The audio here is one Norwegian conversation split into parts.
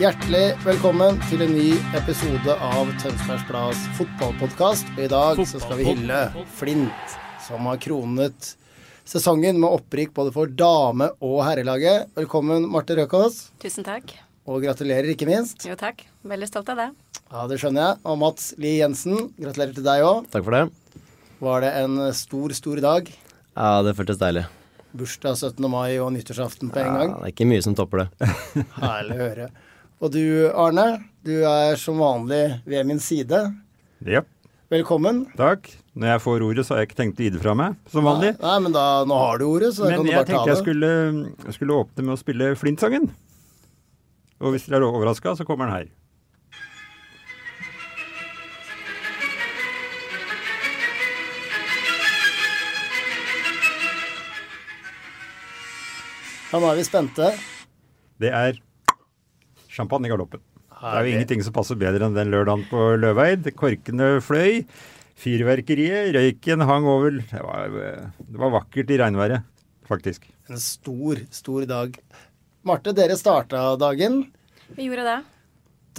Hjertelig velkommen til en ny episode av Tønsbergs Blads fotballpodkast. Og i dag så skal vi hylle Flint, som har kronet sesongen med opprykk både for dame- og herrelaget. Velkommen, Marte Røkås, Tusen takk. og gratulerer, ikke minst. Jo, takk. Veldig stolt av det. Ja, det skjønner jeg. Og Mats Lie Jensen, gratulerer til deg òg. Takk for det. Var det en stor, stor dag? Ja, det føltes deilig. Bursdag 17. mai og nyttårsaften på en Ja, gang. det er ikke mye som topper det. Herlig å høre. Og du, Arne, du er som vanlig ved min side. Ja, Velkommen. takk. Når jeg får ordet, så har jeg ikke tenkt å gi det fra meg, som vanlig. Nei, men da, nå har du ordet, så da Men kan du jeg bare ta tenkte det. jeg skulle, jeg skulle åpne med å spille Flint-sangen. Og hvis dere er overraska, så kommer den her. Ja, nå er vi spente. Det er Champagne i galoppen. Det er Herlig. jo ingenting som passer bedre enn den lørdagen på Løveid. Korkene fløy, fyrverkeriet, røyken hang over Det var, det var vakkert i regnværet, faktisk. En stor, stor dag. Marte, dere starta dagen. Vi gjorde det.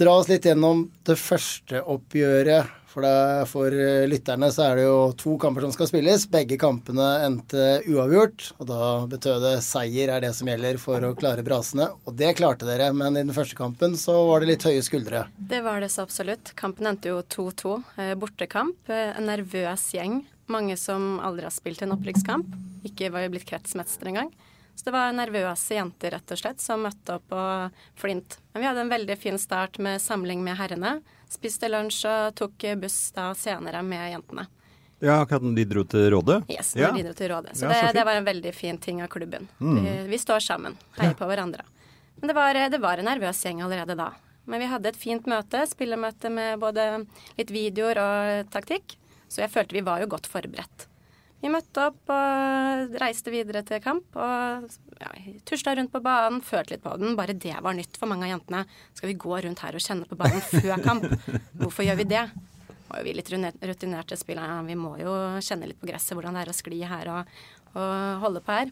Dra oss litt gjennom det første oppgjøret. For, det, for eh, lytterne så er det jo to kamper som skal spilles. Begge kampene endte uavgjort. Og da betød det seier er det som gjelder for å klare brasene. Og det klarte dere, men i den første kampen så var det litt høye skuldre. Det var det så absolutt. Kampen endte jo 2-2. Eh, Bortekamp. eh, En nervøs gjeng. Mange som aldri har spilt en opprykkskamp. Ikke var jo blitt kretsmester engang. Så det var nervøse jenter rett og slett som møtte opp og flint. Men vi hadde en veldig fin start med samling med herrene. Spiste lunsj og tok eh, buss da senere med jentene. Ja, akkurat når de dro til Rådet? Yes, Ja. når de dro til rådet. Så, Ja, så det, fint. Mm. det var en veldig fin ting av klubben. Vi, vi står sammen, heier på hverandre. Men det var, det var en nervøs gjeng allerede da. Men vi hadde et fint møte, spillermøte med både litt videoer og taktikk. Så jeg følte vi var jo godt forberedt. Vi møtte opp og reiste videre til kamp og ja, tusla rundt på banen, følte litt på den. Bare det var nytt for mange av jentene. Skal vi gå rundt her og kjenne på banen før kamp? Hvorfor gjør vi det? Og vi er litt rune- rutinerte spillere, vi må jo kjenne litt på gresset, hvordan det er å skli her og, og holde på her.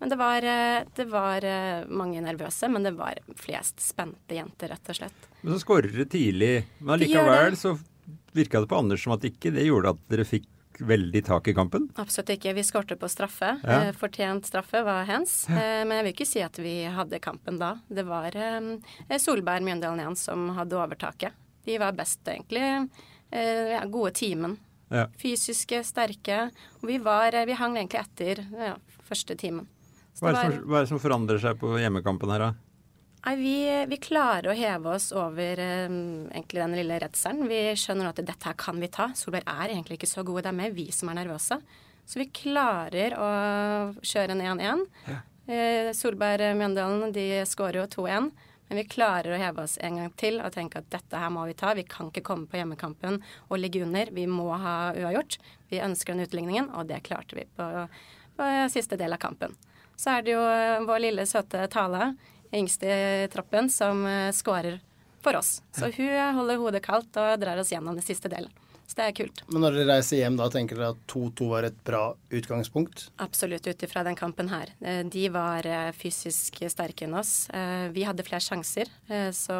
Men det var, eh, det var eh, mange nervøse, men det var flest spente jenter, rett og slett. Men så skårer dere tidlig. Men Vi gjør likevel det. så virka det på Anders som at ikke det gjorde at dere fikk veldig tak i kampen. Absolutt ikke. Vi skårte på straffe. Ja. Eh, fortjent straffe var hens. Eh, men jeg vil ikke si at vi hadde kampen da. Det var eh, Solberg Mjøndalen igjen som hadde overtaket. De var best, egentlig. Eh, ja, gode timen. Ja. Fysiske, sterke. Og vi, var, eh, vi hang egentlig etter ja, første timen. Så Hva det er, det var, som, hva er det som forandrer seg på hjemmekampen her, da? nei, vi, vi klarer å heve oss over eh, egentlig den lille redselen. Vi skjønner nå at dette her kan vi ta. Solberg er egentlig ikke så gode. Det er mer vi som er nervøse. Så vi klarer å kjøre en 1-1. Eh, Solberg eh, Mjøndalen de skårer jo 2-1. Men vi klarer å heve oss en gang til og tenke at dette her må vi ta. Vi kan ikke komme på hjemmekampen og ligge under. Vi må ha uavgjort. Vi ønsker den utligningen, og det klarte vi på, på siste del av kampen. Så er det jo eh, vår lille søte Tale, yngste i troppen, som eh, skårer for oss. Så hun holder hodet kaldt og drar oss gjennom den siste delen. Så det er kult. Men når dere reiser hjem, da tenker dere at 2-2 var et bra utgangspunkt? Absolutt, ut ifra den kampen her. Eh, De var eh, fysisk sterke enn oss. Eh, Vi hadde flere sjanser, eh, så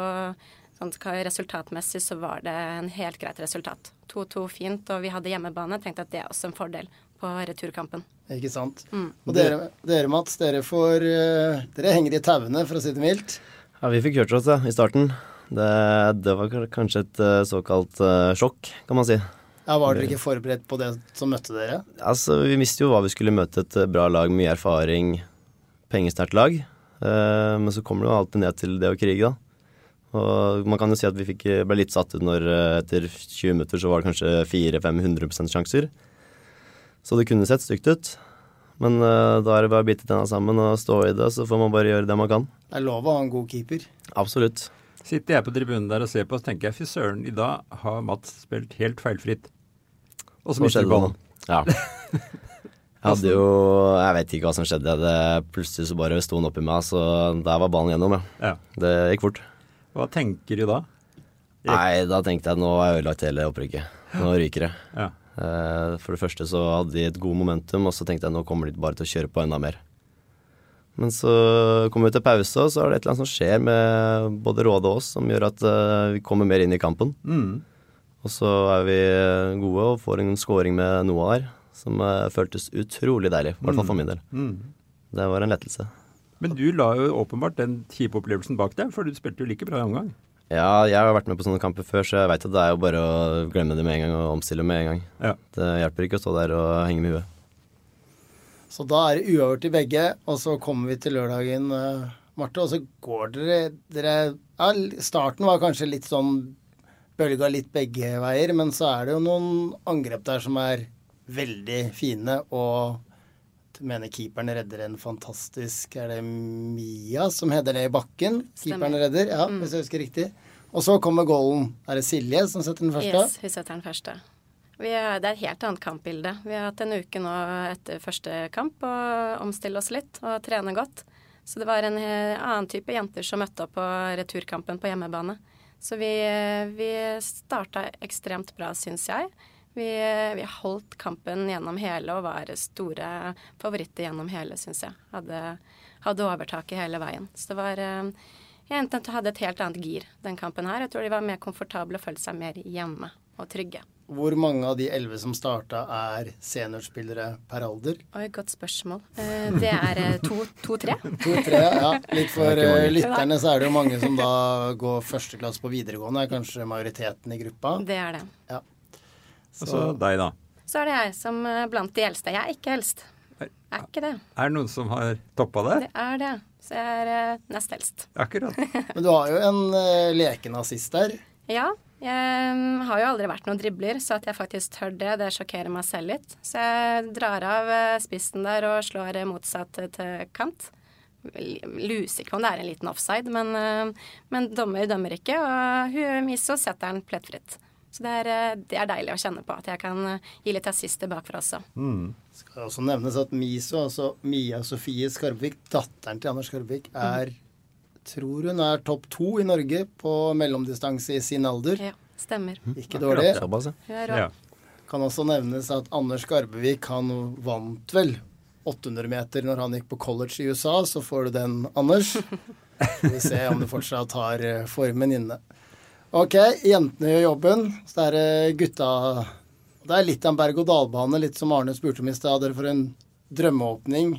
sånn ka- resultatmessig så var det en helt greit resultat. 2-2 fint, og vi hadde hjemmebane. Tenkte at det er også en fordel på returkampen. Ikke sant? Og dere, dere, Mats, dere får eh, Dere henger i tauene, for å si det mildt. Ja, vi fikk hørt oss ja, i starten. Det, det var k- kanskje et eh, såkalt eh, sjokk, kan man si. Ja, Var dere ikke forberedt på det som møtte dere? Altså, vi visste jo hva vi skulle møte, et eh, bra lag, mye erfaring, pengesterkt lag. Eh, men så kommer det jo alltid ned til det å krige, da. Og man kan jo si at vi fikk, ble litt satt ut når eh, etter 20 minutter så var det kanskje 4-5-100 sjanser. Så det kunne sett stygt ut. Men eh, da er det bare å bite tenna sammen og stå i det, så får man bare gjøre det man kan. Det er lov å ha en god keeper. Absolutt. Sitter jeg på tribunen der og ser på, så tenker jeg fy søren, i dag har Mats spilt helt feilfritt. Og så Hva mister skjedde du ballen. nå? Ja. Jeg hadde jo Jeg vet ikke hva som skjedde. Det plutselig så bare sto han oppi meg, så der var ballen gjennom, ja. Ja. Det gikk fort. Hva tenker du da? Nei, da tenkte jeg nå har jeg ødelagt hele opprykket. Nå ryker det. Ja. Eh, For det første så hadde de et god momentum, og så tenkte jeg nå kommer de bare til å kjøre på enda mer. Men så kommer vi til pause, og så er det et eller annet som skjer med både Råde og oss, som gjør at eh, vi kommer mer inn i kampen. Og så er vi eh, gode og får en scoring med Noah her, som eh, føltes utrolig deilig. I hvert fall for min del. Det var en lettelse. Men du la jo åpenbart den kjipe opplevelsen bak deg, for du spilte jo like bra i omgang. Ja, jeg har vært med på sånne kamper før, så jeg veit at det er jo bare å glemme det med en gang og omstille med en gang. Ja. Det hjelper ikke å stå der og henge med huet. Så da er det uavgjort i begge, og så kommer vi til lørdagen, eh, Marte, og så går dere, dere ja, Starten var kanskje litt sånn bølga litt begge veier, men så er det jo noen angrep der som er veldig fine, og jeg mener keeperen redder en fantastisk Er det Mia som header det i bakken? Stemmer. Mm. Keeperen redder, ja, hvis jeg husker riktig. Og så kommer goalen. Er det Silje som setter den første? Yes, hun setter den første. Vi er, det er et helt annet kampbilde. Vi har hatt en uke nå etter første kamp og omstille oss litt og trene godt. Så det var en eh, annen type jenter som møtte opp på returkampen på hjemmebane. Så vi, eh, vi starta ekstremt bra, syns jeg. Vi, eh, vi holdt kampen gjennom hele og var store favoritter gjennom hele, syns jeg. Hadde, hadde overtaket hele veien. Så det var eh, Jentene hadde et helt annet gir den kampen her. Jeg tror de var mer komfortable og følte seg mer hjemme og trygge. Hvor mange av de elleve som starta, er seniorspillere per alder? Oi, godt spørsmål. Eh, Det er eh, to- to-tre. To-tre, ja. Litt for Det er ikke mange. eh, lytterne så er det jo mange som da går førsteklasse på videregående, er kanskje majoriteten i gruppa. det er det. Og så Altså, deg, da. Så er det jeg som eh, blant de eldste. Jeg er ikke eldst. Jeg er ikke det. Er det noen som har toppa deg? Det er det. Så jeg er eh, nest eldst. Akkurat. Men du har jo en eh, leken assist der. Ja, jeg mm, har jo aldri vært noen dribler, så at jeg faktisk tør det, det sjokkerer meg selv litt. Så jeg drar av eh, spissen der og slår eh, motsatt eh, til kant. L- Luser ikke om det er en liten offside, men, eh, men dommer dømmer ikke. Og hun Miso setter den plettfritt. Så det er, eh, det er deilig å kjenne på at jeg kan eh, gi litt assister bakfra også. Skal det også nevnes at Miso, altså Mia Sofie Skarbvik, datteren til Anders Skarbvik, Mm. er Tror hun er topp to i Norge på mellomdistanse i sin alder. Ja, stemmer. Ikke dårlig. Såpass, ja. Hun er rå. Ja. Kan også nevnes at Anders Skarbevik han vant vel 800 meter når han gikk på college i USA, så får du den, Anders. Får vi se om du fortsatt har eh, formen inne. Ok, jentene gjør jobben. Så er det gutta Det er litt av en berg-og-dal-bane, litt som Arne spurte om i stad. Dere får en drømmeåpning,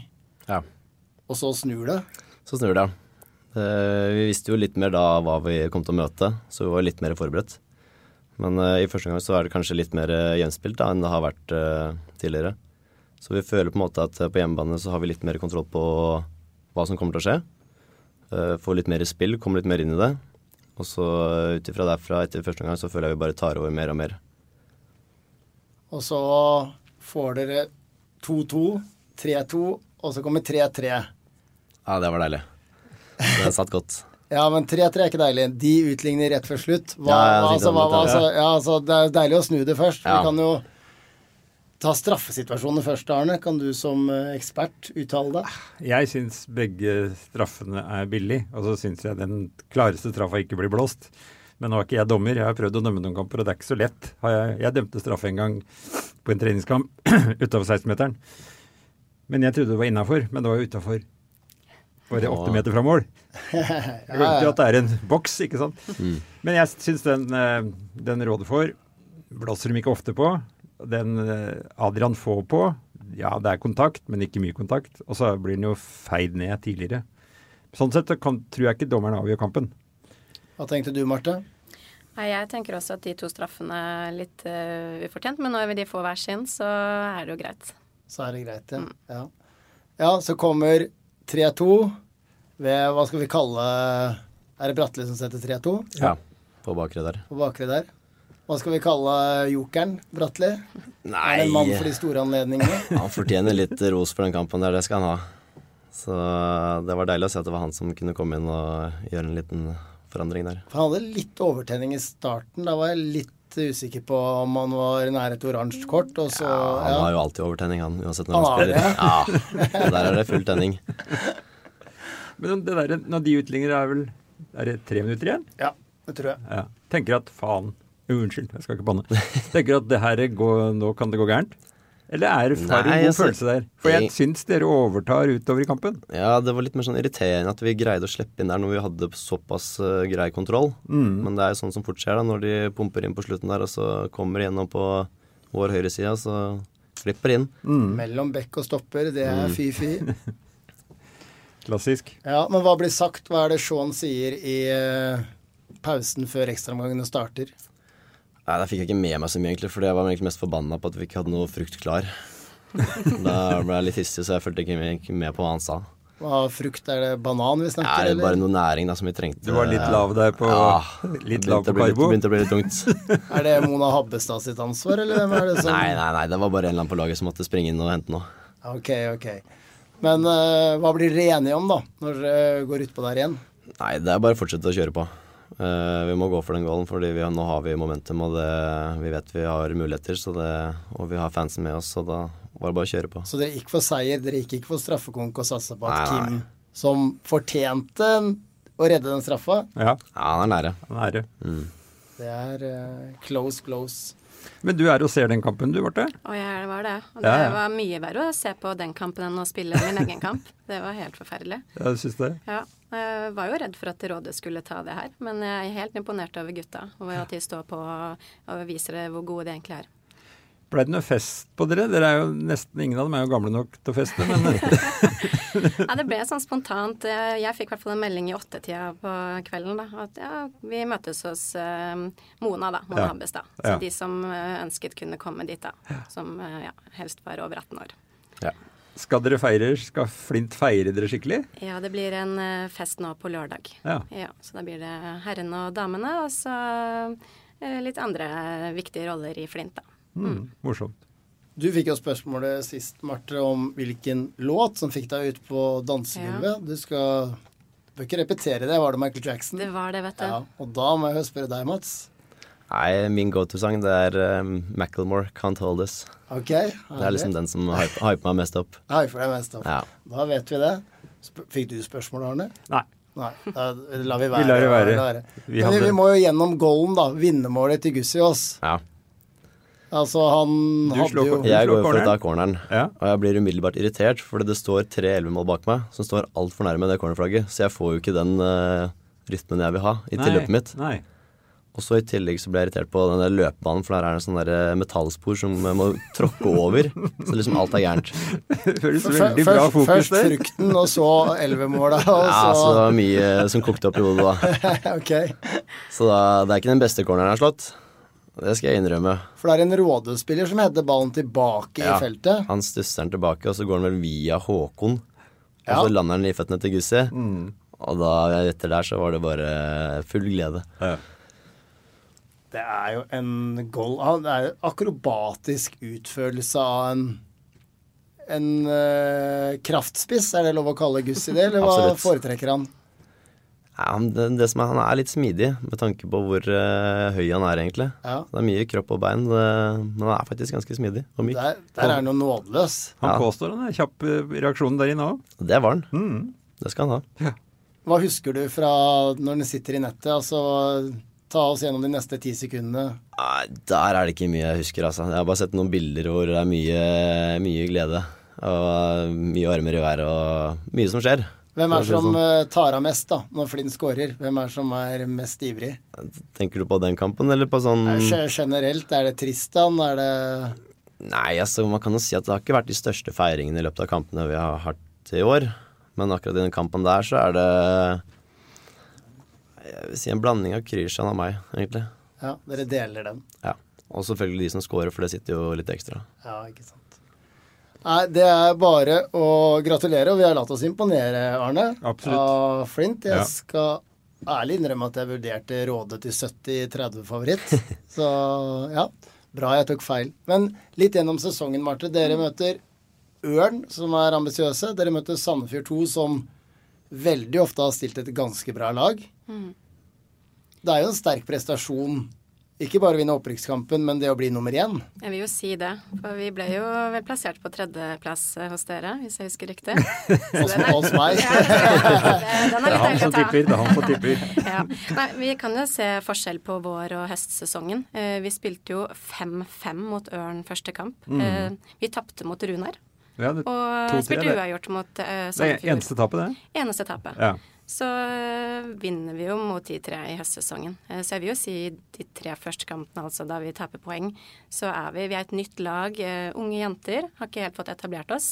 ja. og så snur det. Så snur det. Eh, Vi visste jo litt mer da hva vi kom til å møte, så vi var litt mer forberedt. Men eh, i første gang så er det kanskje litt mer eh, jevnspilt da enn det har vært eh, tidligere. Så vi føler på en måte at eh, på hjemmebane så har vi litt mer kontroll på hva som kommer til å skje. Eh, Får litt mer spill, kommer litt mer inn i det. Og så eh, ut ifra derfra, etter første gang, så føler jeg vi bare tar over mer og mer. Og så får dere 2-2, 3-2, og så kommer 3-3. Ja, Ah, det var deilig. Det satt godt. Ja, men 3-3 er ikke deilig. De utligner rett før slutt. Hva, Ja, jeg tenkte altså, hva, det hva, var altså, ja, altså, det er deilig å snu det først. Ja. Vi kan jo ta straffesituasjonen først, Arne. Kan du som eh, ekspert uttale deg? Jeg syns begge straffene er billig, og så syns jeg den klareste straffa ikke blir blåst. Men nå er ikke jeg dommer, jeg har prøvd å dømme noen kamper, og det er ikke så lett. Har Jeg, jeg dømte straffe en gang på en treningskamp utafor 16-meteren. Men jeg trodde det var innafor, men det var jo utafor. Bare åtte meter fra mål. Jeg glemte jo at det er en boks, ikke sant. Men jeg syns den, eh, den Råde får, blåser de ikke ofte på. Den eh, Adrian får på, ja det er kontakt, men ikke mye kontakt. Og så blir den jo feid ned tidligere. Sånn sett så kan, tror jeg ikke dommeren avgjør kampen. Hva tenkte du, Marte? Nei, jeg tenker også at de to straffene er litt eh, ufortjent, men når de får hver sin, så er det jo greit. Så er det greit, ja. Ja, ja så kommer 3-2 ved Hva skal vi kalle Er det Bratteli som setter 3-2 Ja. På bakre der. på bakre der? Hva skal vi kalle jokeren, Bratli? Nei, Er det en mann for de store anledningene? han fortjener litt ros for den kampen der, det skal han ha. Så det var deilig å se at det var han som kunne komme inn og gjøre en liten forandring der. For han hadde litt overtenning i starten. Da var jeg litt usikker på om han var nær et oransje kort. Og så, Han ja. har jo alltid overtenning, han, uansett når Han han har spiller. Ja, Der er det full tenning. Men det der, når de utligner, er vel Er det tre minutter igjen? ja, det tror jeg. Ja. Tenker at faen Unnskyld, jeg skal ikke banne. Tenker at det her går, nå kan det gå gærent? Eller er det far Nei, en god altså, følelse der? For jeg jeg- syns dere overtar utover i kampen. Ja, det var litt mer sånn irriterende at vi greide å slippe inn der når vi hadde såpass eh, grei kontroll. Mm. Men det er jo sånn som fort skjer da, når de pumper inn på slutten der, og så kommer de gjennom på vår høyreside, så slipper de inn. Mellom bekk og stopper, det Mm. er fy-fy. Klassisk. Ja, men hva blir sagt? Hva er det Shaun sier i eh, pausen før ekstraomgangene starter? Nei, der fikk jeg ikke med meg så mye, egentlig, fordi jeg var egentlig mest forbanna på at vi ikke hadde noe frukt klar. da ble jeg litt hissig, så jeg fulgte ikke med, ikke med på hva han sa. Hva frukt? Er det banan vi Ja, snakker, det er bare eller? noe næring da, som vi trengte. Du var litt lav der på Ja, Ah, Litt det lav begynte å på bli litt- karbo. begynte å bli litt tungt. Er det Mona Habbestad sitt ansvar, eller hvem er det som Nei, nei, nei, det var bare en eller annen på laget som måtte springe inn og hente noe. Ok, ok. Men eh, hva blir dere enige om, da, når dere går utpå der igjen? Nei, det er bare å fortsette å kjøre på. Eh, vi må gå for den goalen, fordi vi, har- nå har vi momentum, og det, vi vet vi har muligheter. Så det, og vi har fansen med oss, så da var det bare å kjøre på. Så dere gikk for seier, dere gikk ikke for straffekonk og satsa på at Nei, nei. Kim, som fortjente en- å redde den straffa, Ja, Ja, han er nære. han er det. det er eh, close, close. Men du er og ser den kampen, du, Barte? Og jeg var det. Og det Ja, ja. var mye verre å se på den kampen enn å spille min egen kamp. Det var helt forferdelig. Ja, du syns det? Ja. Jeg var jo redd for at Rådet skulle ta det her, men jeg er helt imponert over gutta. Og at de står på og viser hvor gode de egentlig er. Blei det noe fest på dere? Dere er jo nesten Ingen av dem er jo gamle nok til å feste, men Ja, det ble sånn spontant. eh, Jeg fikk i hvert fall en melding i åttetida på kvelden da, at ja, vi møtes hos eh, Mona, da. Mona Ja. Habbestad. Så Ja. de som eh, ønsket kunne komme dit, da. Som eh, ja, helst var over 18 år. Ja. skal dere feire? Skal Flint feire dere skikkelig? Ja, det blir en eh, fest nå på lørdag. Ja. Så da blir det herrene og damene, og så eh, litt andre viktige roller i Flint, da. Mm, morsomt. Du fikk jo spørsmålet sist, Marte, om hvilken låt som fikk deg ut på dansegulvet. Du skal Du bør ikke repetere det, var det Michael Jackson? Det var det, vet du. ja, og da må jeg jo spørre deg, Mats. Nei, min go to-sang det er eh, Macklemore, 'Can't Hold Us'. Ok, Ah, Det er liksom den som hype- hyper meg mest opp. Hei for deg mest, da. Ja. Da vet vi det. Sp fikk du spørsmål, Arne? Nei. Nei, da lar vi være. Vi lar det være. lar det Men Vi vi, hadde- vi må jo gjennom goalen, da. Vinnermålet til Gussiås. Ja. Altså, han Du hadde slår jo kort. Jeg slår går for å ta corneren. corneren, Ja. og jeg blir umiddelbart irritert fordi det står tre elvemål bak meg som står altfor nærme det cornerflagget, så jeg får jo ikke den eh, rytmen jeg vil ha i tilløpet mitt. Nei. Og så i tillegg så ble jeg irritert på den der løpebanen, for der er det sånn der metallspor som jeg må tråkke over. Så liksom alt er gærent. Det føles Fø- veldig bra først, fokus først der. frukten, og så elvemåla, og Ja, så det så var mye som kokte opp i hodet da. Ok. Så da, det er ikke den beste corneren jeg har slått. Det skal jeg innrømme. For det er en rådhusspiller som header ballen tilbake Ja. i feltet. Han stusser den tilbake, og så går han vel via Håkon. Og Ja. Mm. så lander han i føttene til Gussi. Og da etter der så var det bare full glede. Det er jo en goal han- Det er jo akrobatisk utførelse av en en eh, kraftspiss, er det lov å kalle Gussi det, eller hva Absolutt. foretrekker han? Ja, men det, det som er, Han er litt smidig med tanke på hvor eh, høy han er, egentlig. Ja. Det er mye kropp og bein, det, men han er faktisk ganske smidig og myk. Der, der er han jo nådeløs. Han Ja. påstår han er kjapp eh, reaksjon der inne òg. Det var han. Mm. Det skal han ha. Hva husker du fra når den sitter i nettet? Altså, ta oss gjennom de neste ti sekundene. Nei, der er det ikke mye jeg husker, altså. Jeg har bare sett noen bilder hvor det er mye, mye glede. Og eh, mye armer i været og mye som skjer. Hvem er For å si som det eh, tar av mest da, når Flint scorer? Hvem er som er mest ivrig? sånn. Tenker du på den kampen, eller på sånn Er det Generelt, er det Tristan? Er det Nei, altså, man kan jo si at det har ikke vært de største feiringene i løpet av kampene vi har hatt i år. Men akkurat i den kampen der, så er det Jeg vil si en blanding av Krystian og meg, egentlig. Ja, dere deler den. Ja. Og selvfølgelig de som scorer, for det sitter jo litt ekstra. Ja, ikke sant. Nei, det er bare å gratulere, og vi har latt oss imponere, Arne. Absolutt. Av Flint. Jeg Ja. skal ærlig innrømme at jeg vurderte Råde til 70-30-favoritt. Så ja, bra jeg tok feil. Men litt gjennom sesongen, Marte. Dere Mm. møter Ørn, som er ambisiøse. Dere møter Sandefjord 2, som veldig ofte har stilt et ganske bra lag. Det er jo en sterk prestasjon. Ikke bare å vinne opprykkskampen, men det å bli nummer én. Jeg vil jo si det. For vi ble jo vel plassert på tredjeplass eh, hos dere, hvis jeg husker riktig. Hos, hos meg. Ja, det, den Det er litt er han deilig å som ta. tipper. Det er han som tipper. Ja. Nei, vi kan jo se forskjell på vår- og høstsesongen. Eh, Vi spilte jo 5-5 mot Ørn første kamp. Mm. Eh, Vi tapte mot Runar. Ja, det, Og to-tre, spilte det. uavgjort mot eh, det er Sandefjord. eneste tapet, det. Eneste tapet. Ja. Så eh, vinner vi jo mot de tre i høstsesongen. Eh, Så jeg vil jo si de tre første kampene, altså da vi taper poeng, så er vi Vi er et nytt lag. eh, Unge jenter har ikke helt fått etablert oss,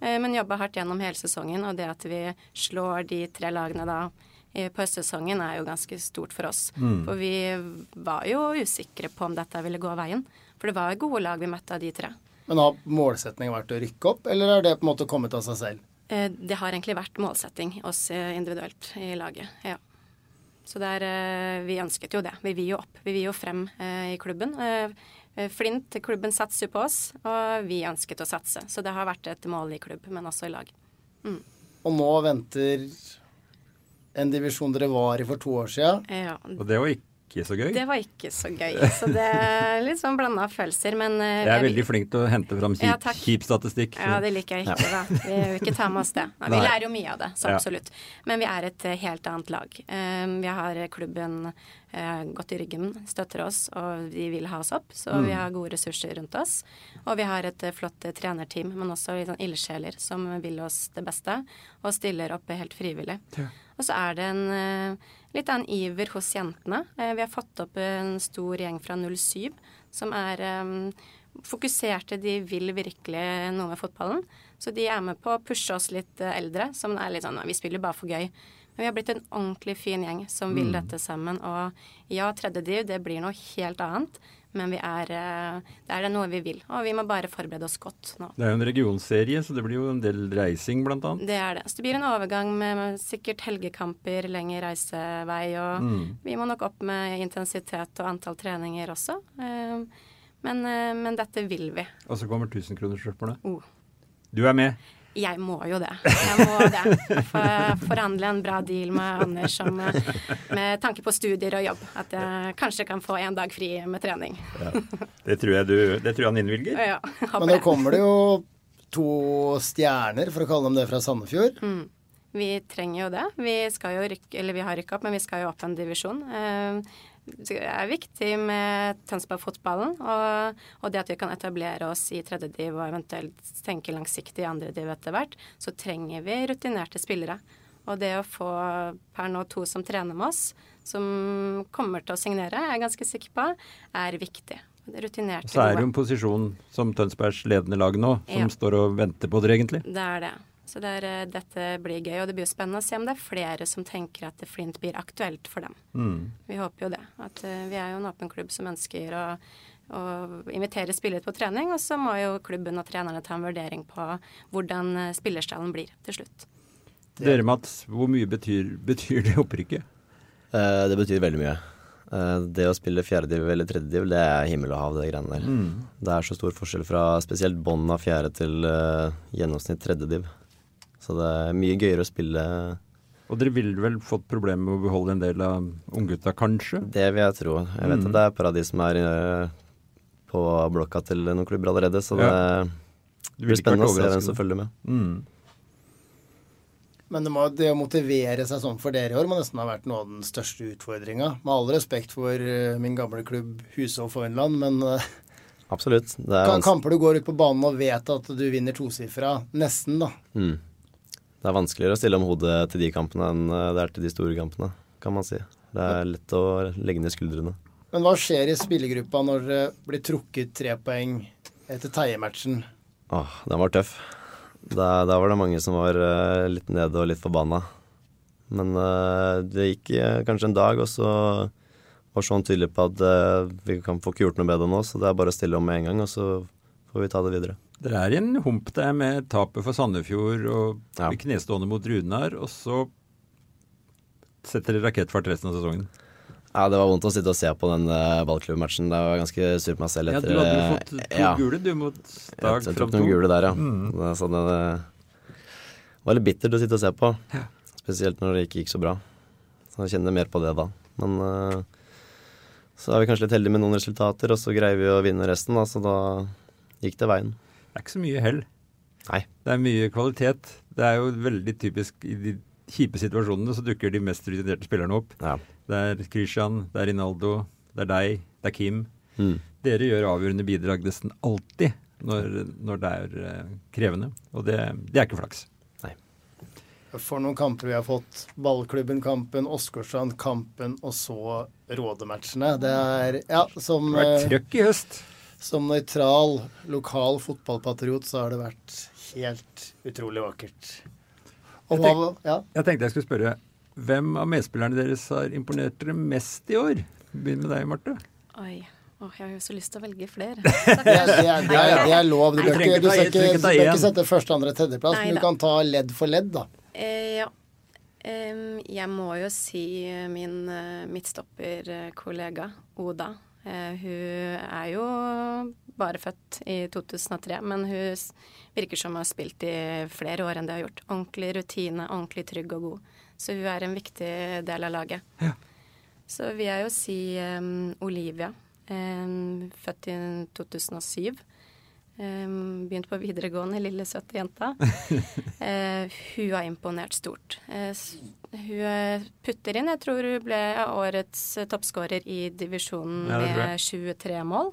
eh, men jobba hardt gjennom hele sesongen. Og det at vi slår de tre lagene da eh, på høstsesongen, er jo ganske stort for oss. Mm. For vi var jo usikre på om dette ville gå veien. For det var gode lag vi møtte av de tre. Men har målsettingen vært å rykke opp, eller har det på en måte kommet av seg selv? Eh, Det har egentlig vært målsetting oss eh, individuelt i laget. Ja. Så det er, eh, vi ønsket jo det. Vi vil jo opp. Vi vil jo frem eh, i klubben. Eh, eh, Flint, klubben satser jo på oss, og vi ønsket å satse. Så det har vært et mål i klubb, men også i lag. Og nå venter en divisjon dere var i for to år siden. Ja, Og det var ikke så gøy. det var ikke så gøy. Så det er litt sånn blanda følelser, men eh, Jeg er jeg- veldig flink til å hente fram Ja, kjip, takk. kjip statistikk. så- Ja, det liker jeg ikke, da. Vi vil ikke ta med oss det. Nei, vi Nei. lærer jo mye av det, så Ja. absolutt. Men vi er et eh, helt annet lag. Eh, Vi har klubben eh, godt i ryggen, støtter oss, og de vil ha oss opp. Så vi har gode ressurser rundt oss. Og vi har et eh, flott eh, trenerteam, men også litt sånn ildsjeler som vil oss det beste, og stiller opp eh, helt frivillig. Og så er det en eh, litt annen iver hos jentene. Eh, Vi har fått opp en stor gjeng fra 07 som er eh, fokuserte, de vil virkelig noe med fotballen. Så de er med på å pushe oss litt eh, eldre, som er litt sånn Vi spiller bare for gøy. Men vi har blitt en ordentlig fin gjeng som vil dette sammen. Og ja, tredje div, det blir noe helt annet. Men vi er, eh, det er det noe vi vil. Og vi må bare forberede oss godt nå. Det er jo en regionserie, så det blir jo en del reising, blant annet. Det er det. Så det blir en overgang med med sikkert helgekamper, lengre reisevei, og vi må nok opp med intensitet og antall treninger også. Eh, Men, eh, men dette vil vi. Og så kommer 1000-kronersspørsmålet. Oh. Du er med. Jeg må jo det. Jeg må det. For, forhandle en bra deal med Anders om, eh, med tanke på studier og jobb. At jeg kanskje kan få en dag fri med trening. Det tror jeg, du, det tror jeg han innvilger. Ja, håper Men nå det. kommer det jo to stjerner, for å kalle dem det, fra Sandefjord. Vi trenger jo det. Vi skal jo rykke, eller vi har rykka opp, men vi skal jo opp en divisjon. Eh, Det er viktig med Tønsberg-fotballen og, og det at vi kan etablere oss i tredje div og eventuelt tenke langsiktig i andre div etter hvert. Så trenger vi rutinerte spillere. Og det å få per nå to som trener med oss, som kommer til å signere, er jeg ganske sikker på, er viktig. Rutinerte, Så er det jo gode. en posisjon som Tønsbergs ledende lag nå, Ja. som står og venter på dere, egentlig. Det er det. Så det er, eh, dette blir gøy, og det blir jo spennende å se om det er flere som tenker at Flint blir aktuelt for dem. Vi håper jo det. At eh, vi er jo en åpen klubb som ønsker å, å invitere spillere på trening, og så må jo klubben og trenerne ta en vurdering på hvordan eh, spillerstallen blir til slutt. Dere, Mats, hvor mye betyr, betyr det opprykket? Eh, det betyr veldig mye. Eh, det å spille fjerdediv eller tredjediv, det er himmel og hav, det greiene der. Det er så stor forskjell fra spesielt bånn av fjerde til eh, gjennomsnitt tredjediv. Så det er mye gøyere å spille Og dere ville vel fått problemer med å beholde en del av unggutta, kanskje? det, vil jeg tro. Jeg vet Mm. at det er paradis som er eh, på blokka til noen klubber allerede, så Ja. det blir spennende å se hvem som overrasket. følger med. Men det, må, det å motivere seg sånn for dere i år må nesten ha vært noe av den største utfordringa. Med all respekt for eh, min gamle klubb Husov Foynland, men eh, Absolutt. Det er, ka- vans kamper du går ut på banen og vet at du vinner tosifra, nesten, da. mm. det er vanskeligere å stille om hodet til de kampene enn eh, det er til de store kampene, kan man si. Det er lett å legge ned skuldrene. Men hva skjer i spillergruppa når det blir trukket tre poeng etter Teie-matchen? Åh, den var tøff. Da, da var det mange som var eh, litt nede og litt forbanna. Men eh, det gikk eh, kanskje en dag, og så var sånn tydelig på at eh, vi kan få ikke gjort noe bedre nå, så det er bare å stille om med en gang, og så får vi ta det videre. Dere er i en hump der med tapet for Sandefjord og Ja. knestående mot Runar, og så setter rakettfart resten av sesongen. Ja, Det var vondt å sitte og se på den uh, ballklubbmatchen. Det var ganske sur på meg selv Ja, etter eh, du hadde jo fått to ja, gule, du, mot Dag Jeg, jeg Fram tok to. noen gule der, ja. Mm. Det, er sånn, det var litt bittert å sitte og se på. Ja. Spesielt når det ikke gikk så bra. Så jeg kjenner mer på det da. Men eh, så er vi kanskje litt heldige med noen resultater, og så greier vi å vinne resten, da, så da gikk det veien. Det er ikke så mye hell. Nei. Det er mye kvalitet. Det er jo veldig typisk i de kjipe situasjonene så dukker de mest rutinerte spillerne opp. Ja. Det er Krishan, det er Rinaldo, det er deg, det er Kim. Mm. Dere gjør avgjørende bidrag nesten alltid når, når det er eh, krevende. Og det, det er ikke flaks. For noen kamper vi har fått. Ballklubben-kampen, Åsgårdstrand-kampen og så Rådematchene. Det er Ja, som, Det har vært eh, trøkk i høst. som nøytral, lokal fotballpatriot så har det vært helt utrolig vakkert. Og Jeg hva Ja. Jeg tenkte jeg skulle spørre, hvem av medspillerne deres har imponert dere mest i år? Begynn med deg, Marte. Oi. Åh, jeg har jo så lyst til å velge flere. Det er, det er, det er, det er lov. Du Nei, bør trenger ikke, ikke du ta- skal ikke, trenger du ikke ta bør ikke én. sette første, andre, tredjeplass, men Neida. du kan ta ledd for ledd, da. Eh, ja. Em, jeg må jo si eh, min eh, midtstopperkollega Oda. Eh, hun er jo bare født i 2003, men hun s- virker som hun har spilt i flere år enn det hun har gjort. Ordentlig rutine, ordentlig trygg og god. Så hun er en viktig del av laget. Så vil jeg jo si em, Olivia. em, født i 2007. Um, begynt på videregående, lille søte jenta. Eh, hun har imponert stort. Eh, s- hun eh, putter inn, jeg tror hun ble årets eh, toppskårer i divisjonen Ja, det tror med 23 mål.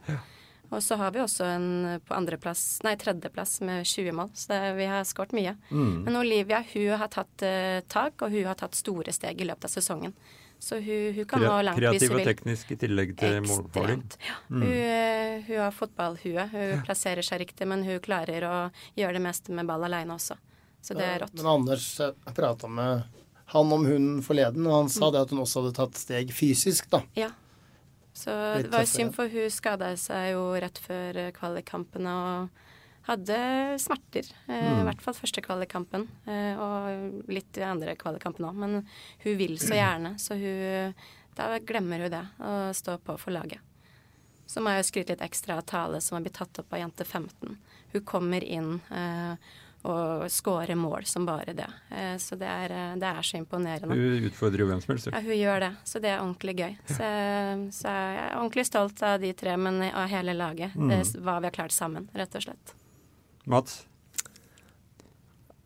Og så har vi også en eh, på andreplass, nei tredjeplass med 20 mål, så det, vi har skåret mye. Mm. Men Olivia hun har tatt eh, tak, og hun har tatt store steg i løpet av sesongen. Så hun, hun kan nå Kre- langt hvis Kreativ hun og vil. teknisk eh, i tillegg til målfagling. Ja. Mm. Hun, eh, hun har fotballhue. Hun plasserer seg riktig, men hun klarer å gjøre det meste med ball aleine også. Så det er rått. Men Anders prata med han om hun forleden, og han sa det at hun også hadde tatt steg fysisk, da. Ja. Så Litt det var jo tøffere. synd, for hun skada seg jo rett før eh, kvalikkampene og hadde smerter. eh, Mm. I hvert fall første kvalikkampen, eh, og litt i andre kvalikkampen òg. Men hun vil så gjerne, så hun Da glemmer hun det, å stå på for laget. Så må jeg jo skryte litt ekstra av Tale, som har blitt tatt opp av jente 15. Hun kommer inn eh, og scorer mål som bare det. Eh, så det er, eh, det er så imponerende. Hun utfordrer jo hvem som helst. Ja, hun gjør det, så det er ordentlig gøy. Så, så jeg er ordentlig stolt av de tre, men av hele laget. Mm. Det er hva vi har klart sammen, rett og slett. Mats?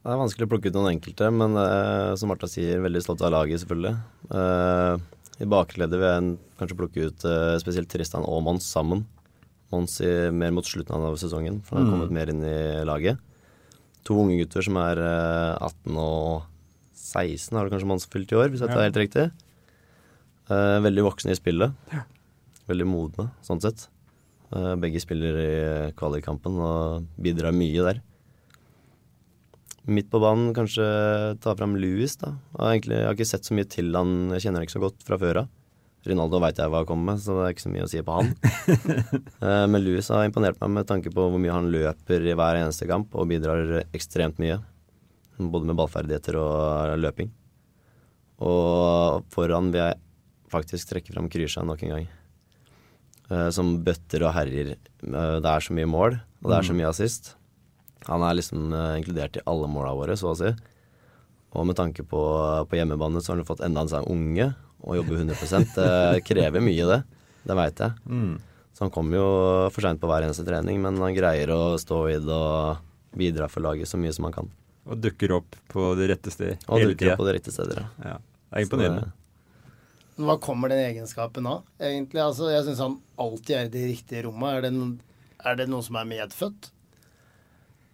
Det er vanskelig å plukke ut noen enkelte, men eh, som Martha sier, veldig stolt av laget, selvfølgelig. Eh, I bakleddet vil jeg kanskje plukke ut eh, spesielt Tristan og Mons sammen. Mons i, mer mot slutten av sesongen, for han har kommet mer inn i laget. To unge gutter som er eh, 18 og 16, har det kanskje Mons fylt i år, hvis jeg tar Ja. helt riktig. Eh, veldig voksne i spillet. Veldig modne, sånn sett. Eh, begge spiller i eh, kvalikkampen og bidrar mye der. Midt på banen kanskje ta fram Louis, da. Jeg har, egentlig, jeg har ikke sett så mye til han, jeg kjenner han ikke så godt fra før av. Rinaldo veit jeg hva jeg kommer med, så det er ikke så mye å si på han. Eh, Men Louis har imponert meg med tanke på hvor mye han løper i hver eneste kamp, og bidrar ekstremt mye. Både med ballferdigheter og eh, løping. Og foran vil jeg faktisk trekke fram Krysja nok en gang. Eh, Som bøtter og herjer. Eh, Det er så mye mål, og det er så mye assist. Han er liksom eh, inkludert i alle måla våre, så å si. Og med tanke på, på hjemmebane så har han fått enda en sånn unge og jobber 100 Det krever mye, det. Det veit jeg. Mm. Så han kommer jo for seint på hver eneste trening, men han greier å stå i det og bidra for laget så mye som han kan. Og dukker opp på det rette sted Og hele dukker tida. opp på det riktige stedet. ja. Ja. Det er imponerende. Men hva kommer den egenskapen av, egentlig? Altså, jeg syns han alltid er i det riktige rommet. Er det, en- er det noe som er medfødt?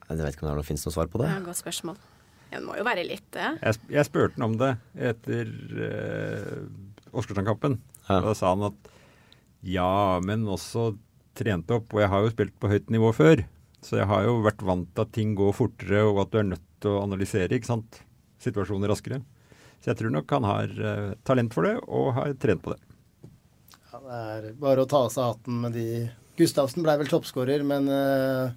Jeg vet ikke om det er noe, finnes noe svar på Det det. er et godt spørsmål. Ja, det må jo være litt eh. det. Jeg, sp- jeg spurte han om det etter eh, Åsgårdstrand-kampen. Ja. Da sa han at ja, men også trent opp. Og jeg har jo spilt på høyt nivå før, så jeg har jo vært vant til at ting går fortere, og at du er nødt til å analysere ikke sant? situasjoner raskere. Så jeg tror nok han har eh, talent for det, og har trent på det. Ja, det er bare å ta av seg hatten med de Gustavsen blei vel toppskårer, men eh,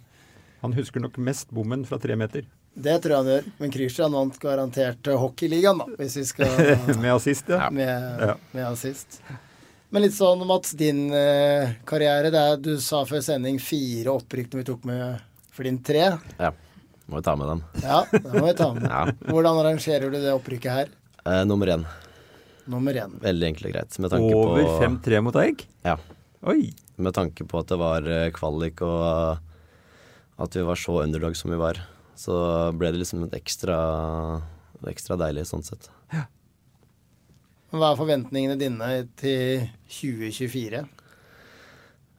Han husker nok mest bommen fra tre meter. Det tror jeg han gjør. Men Christian vant garantert eh, hockeyligaen, da, hvis vi skal Med assist, ja. med, Ja. med assist. Men litt sånn, Mats, din eh, karriere. Det er, du sa før sending fire opprykk når vi tok med Flint tre. Ja. Må jo ta med dem. Ja, det må vi ta med. Ja. Hvordan arrangerer du det opprykket her? Eh, nummer én. Nummer én. Veldig enkelt og greit. Med tanke Over på 5-3 mot Eik? Ja. Oi! Med tanke på at det var eh, kvalik og eh, at vi var så underdog som vi var, så ble det liksom et ekstra, ekstra deilig sånn sett. Hva er forventningene dine til 2024?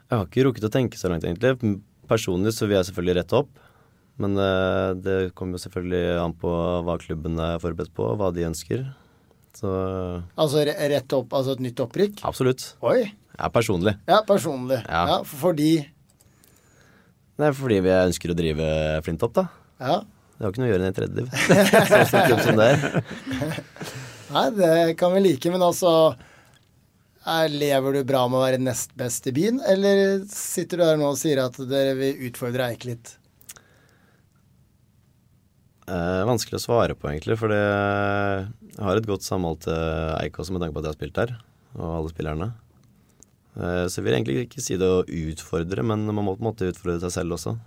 Jeg har ikke rukket å tenke så langt, egentlig. Personlig så vil jeg selvfølgelig rette opp. Men eh, det kommer jo selvfølgelig an på hva klubben er forberedt på, hva de ønsker. Så eh, Altså re- rett opp, altså et nytt opprykk? absolutt. Oi! Jeg er personlig. Ja, personlig. Ja, Ja. Fordi Det er fordi vi ønsker å drive Flint opp, da. Ja. Det har ikke noe å gjøre i et tredje liv. Så stor klubb som det er. Nei, det kan vi like, men altså er- Lever du bra med å være nest best i byen, eller sitter du her nå og sier at dere vil utfordre Eik litt? Eh, vanskelig å svare på, egentlig. For det jeg har et godt eh, samhold til Eik også, med tanke på at jeg har spilt der. Og alle spillerne. Eh, så jeg vil egentlig ikke si det å utfordre, men man må på en måte utfordre seg selv også.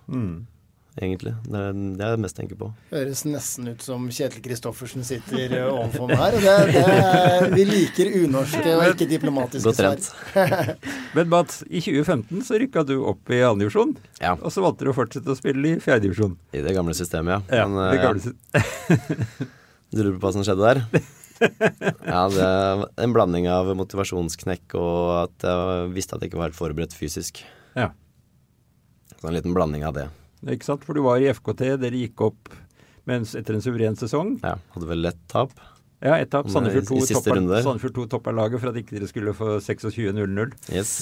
Egentlig. Det er det jeg mest tenker på. Høres nesten ut som Kjetil Kristoffersen sitter eh, overfor meg her. og Det, det er, vi liker unorske og ikke diplomatiske Godt trent. Men Mats, i 2015 så rykka du opp i andredivisjon, Ja, og så valgte du å fortsette å spille i fjerdedivisjon. i det gamle systemet, ja. Ja, Men, det eh, gamle sitt. Du lurer på hva som skjedde der? Ja, det er en blanding av motivasjonsknekk og at jeg visste at jeg ikke var helt forberedt fysisk. Ja. Så en liten blanding av det. Ikke sant? For du var i FKT, dere gikk opp mens, etter en suveren sesong. Ja, hadde vel lett tap. Ja, ett tap. Nei, Sandefjord i 2 siste topper, runde. Sandefjord 2 topper laget for at ikke dere skulle få 26-0-0. Yes.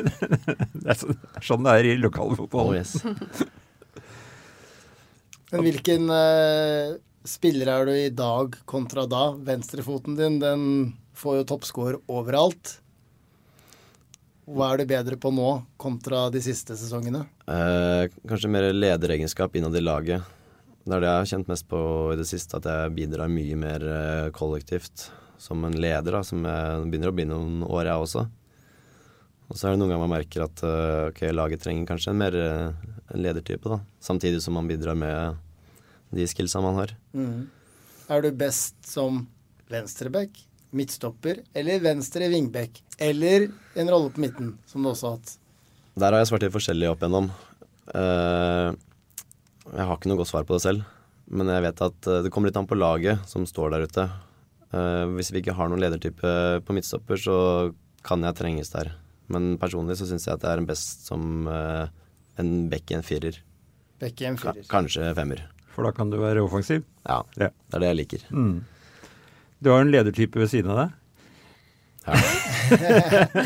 Det er sånn, sånn det er i Oh, lokalfotball. yes. Men hvilken eh, spiller er du i dag kontra da? Venstrefoten din, den får jo toppscore overalt. Hva er du bedre på nå kontra de siste sesongene? Eh, kanskje mer lederegenskap innad i laget. Det er det jeg har kjent mest på i det siste, at jeg bidrar mye mer eh, kollektivt som en leder, da, som jeg begynner å bli noen år, jeg også. Og så er det noen ganger man merker at eh, ok, laget trenger kanskje en mer eh, en ledertype, da. Samtidig som man bidrar med de skillsa man har. Er du best som venstreback, midtstopper eller venstre vingback? Eller en rolle på midten, som du også har hatt. Der har jeg svart litt forskjellig opp igjennom. Eh, jeg har ikke noe godt svar på det selv, men jeg vet at eh, det kommer litt an på laget som står der ute. Eh, hvis vi ikke har noen ledertype på midtstopper, så kan jeg trenges der. Men personlig så syns jeg at jeg er en best som eh, en back i en firer. Back i en Ka firer. kanskje femmer. For da kan du være offensiv. Ja, Ja. det er det jeg liker. Du har en ledertype ved siden av deg. Du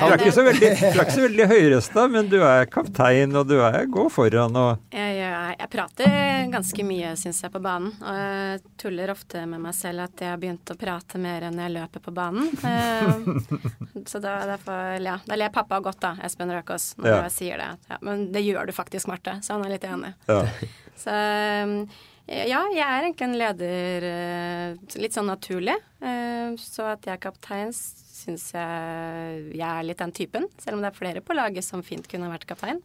er ikke så veldig, du er ikke så veldig høyrøsta, men du er kaptein, og du er gå foran og Jeg, jeg, jeg prater ganske mye, syns jeg, på banen. Og jeg tuller ofte med meg selv at jeg har begynt å prate mer enn jeg løper på banen. Eh, Så da, derfor, ja, da ler pappa godt, da, Espen Røkås, når Ja. jeg sier det. Ja, men det gjør du faktisk, Marte, så han er litt enig. ja. Så um, ja, jeg er egentlig en leder eh, litt sånn naturlig. Eh, Så at jeg er kaptein syns jeg jeg er litt den typen. Selv om det er flere på laget som fint kunne vært kaptein.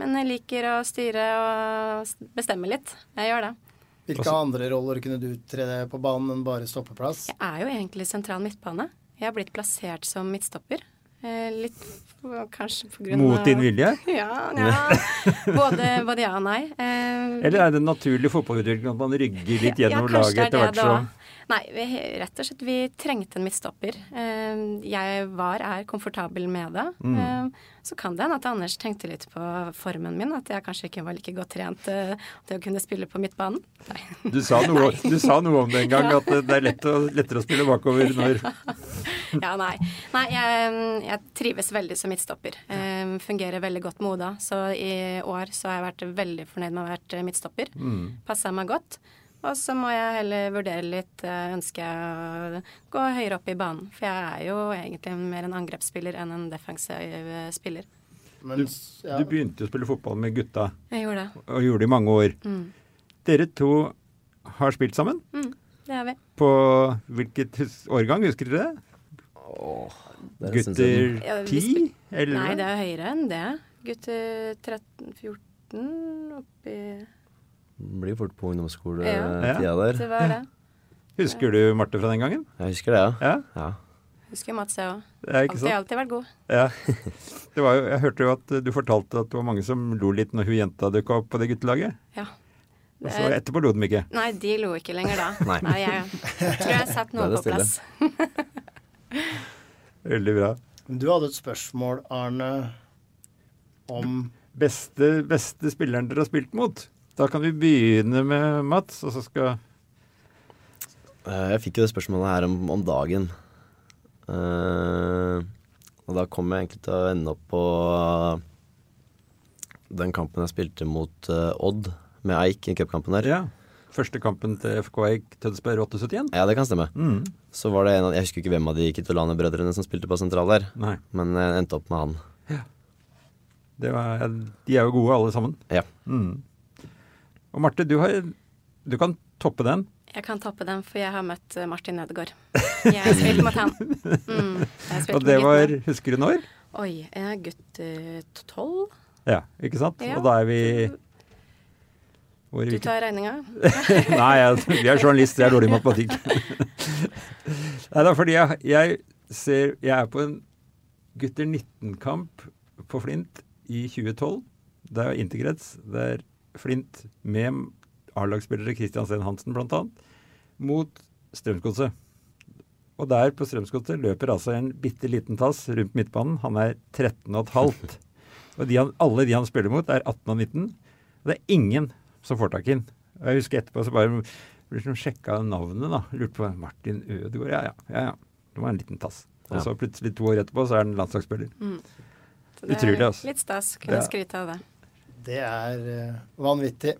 Men jeg liker å styre og s- bestemme litt. Jeg gjør det. Hvilke andre roller kunne du tre deg på banen enn bare stoppeplass? Jeg er jo egentlig sentral midtbane. Jeg har blitt plassert som midtstopper. Eh, Litt f- kanskje på grunn av mot din vilje. Ja, ja. Både, både ja og nei. Eh, Eller er det en naturlig fotballutvikling at man rygger litt gjennom kanskje laget det etter er hvert det det som var. Nei, vi, rett og slett, vi trengte en midtstopper. Eh, Jeg var, er komfortabel med det. Mm. Eh, Så kan det hende at Anders tenkte litt på formen min, at jeg kanskje ikke var like godt trent eh, til å kunne spille på midtbanen. Nei. du sa, noe, du sa noe om det en gang, at det er lett å, lettere å spille bakover når Ja, nei. nei jeg, jeg trives veldig som midtstopper. Eh, fungerer veldig godt med Oda. Så i år så har jeg vært veldig fornøyd med å ha vært eh, midtstopper. Passa meg godt. Og så må jeg heller vurdere litt. eh, Ønsker jeg å gå høyere opp i banen? For jeg er jo egentlig mer en angrepsspiller enn en defensiv eh, spiller. Men, du, ja. du begynte å spille fotball med gutta, Jeg gjorde det. Mm. og gjorde det i mange år. Dere to har spilt sammen. Det har vi. På hvilket hus- årgang, husker dere det? Det er en stund Gutter siden. Ja, vi 10? spil- Nei, det 11? er høyere enn det. Gutter 13-14 oppi Det Blir fort på Ja. ungdomsskoletida der. Det var det. Husker du Marte fra den gangen? Jeg husker det, ja. Ja, ja. Husker Mats, jeg òg. det er ikke Alltid, sant? alltid vært god. Ja. Det var jo, jeg hørte jo at eh, du fortalte at det var mange som lo litt når hun jenta dukka opp på det guttelaget. Ja. Og Altså, så Eh, etterpå lo de ikke. Nei, de lo ikke lenger da. Nei. jeg tror jeg satt Da er noen det på plass. Veldig bra. Du hadde et spørsmål, Arne, om Beste, beste spilleren dere har spilt mot? Da kan vi begynne med Mats, og så skal Eh, Jeg fikk jo det spørsmålet her om, om dagen. Eh, og da kom jeg egentlig til å ende opp på eh, den kampen jeg spilte mot eh, Odd med Eik i cupkampen der. Ja. Første kampen til FK Eik Tønsberg 871? Ja, det kan stemme. Mm. Så var det en av, Jeg husker ikke hvem av de Kitolane-brødrene som spilte på sentral der, Nei. men jeg endte opp med han. Det var, de er jo gode, alle sammen. Ja. Mm. Og Marte, du, har, du kan toppe den. Jeg kan toppe den, for jeg har møtt eh, Martin Ødegaard. Jeg har spilt mot han. Mm, jeg har spilt Og det mot var guttene. Husker du når? Oi, jeg er gutt eh, tolv. Ja, ikke sant? Ja. Og da er vi Hvor er Du vi? tar regninga. Nei, jeg, vi er journalister, jeg er dårlig i matematikk. Nei, det er fordi jeg, jeg ser Jeg er på en gutter 19-kamp på Flint i 2012. Det er interkrets. Det er Flint med A-lagsspillere Christian Steen Hansen bl.a. mot Strømsgodset. Og der på Strømsgodset løper altså en bitte liten tass rundt midtbanen. Han er 13,5. Og de han, alle de han spiller mot, er 18 og 19. Og det er ingen som får tak i den. Og jeg husker etterpå så bare liksom sjekka navnet, da. Lurte på Martin Ødegaard. Ja, ja. ja, ja. Det var en liten tass. Og så plutselig to år etterpå så er han landslagsspiller. Mm. Så det er Utrolig, altså. Eh, Litt stas. Kunne Ja. skryte av det. Det er eh, vanvittig.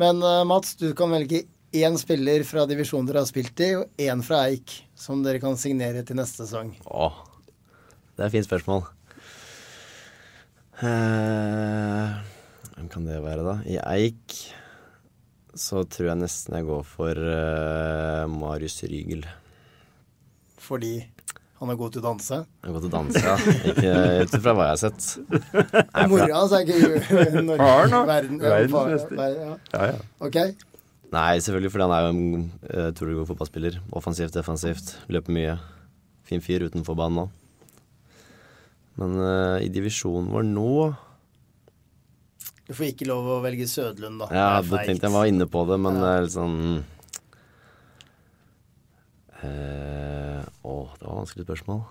Men eh, Mats, du kan velge én spiller fra divisjonen dere har spilt i, og én fra Eik, som dere kan signere til neste sesong. Åh, det er et fint spørsmål. Eh, hvem kan det være, da? I Eik så tror jeg nesten jeg går for eh, Marius Rygel. Fordi han er god til å danse. Jeg har gått og dansa, ikke ut ifra hva jeg har sett. Nei, for Mora det- hans er ikke i Norge. Faren, da. Verden- ja, Verdens far- beste. ver- ja. Ja, ja. Ok. Nei, selvfølgelig, fordi han er jo en eh, utrolig god fotballspiller. Offensivt, defensivt. Løper mye. Fin fyr utenfor banen òg. Men eh, i divisjonen vår nå Du får ikke lov å velge Sødlund, da. Jeg Det er hadde feigt. tenkt jeg var inne på det, men Ja. det er litt sånn eh, Å, det var et vanskelig spørsmål.